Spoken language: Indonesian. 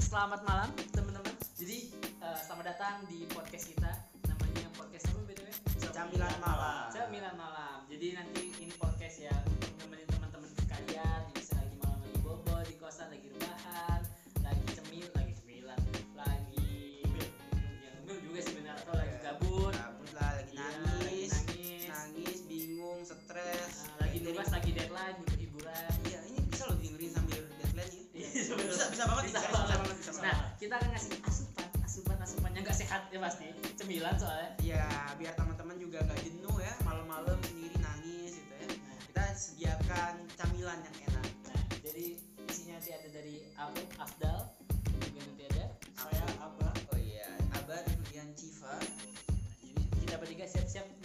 selamat malam teman-teman. Jadi eh, selamat datang di podcast kita. Namanya podcast apa btw? Camilan malam. Camilan malam. Jadi nanti ini podcast yang nemenin teman-teman sekalian yang bisa lagi malam lagi bobo di kosan lagi rebahan, lagi cemil, lagi cemilan, lagi yang ngemil juga sebenarnya atau lagi gabut, Gabut lah, Iya. Iya, lagi lagi nangis, Nah, nangis, nangis, bingung, stres. eh, lagi Dengerin- nugas, lagi deadline, hiburan. Iya, ini bisa loh dengerin sambil deadline ya. Iya, bisa, bener. bisa, bisa banget, Bisa bisa, banget. banget, bisa banget. Nah, kita akan ngasih asupan, asupan, asupan yang nggak sehat ya pasti. Cemilan soalnya. Iya, biar teman-teman juga nggak jenuh ya, malam-malam sendiri nangis gitu ya. Nah, Kita sediakan camilan yang enak. Nah, jadi isinya nanti ada dari aku, Afdal, juga nanti ada. Saya Abah. Oh iya, Abah kemudian Civa. Nah, Jadi kita bertiga siap-siap Iya.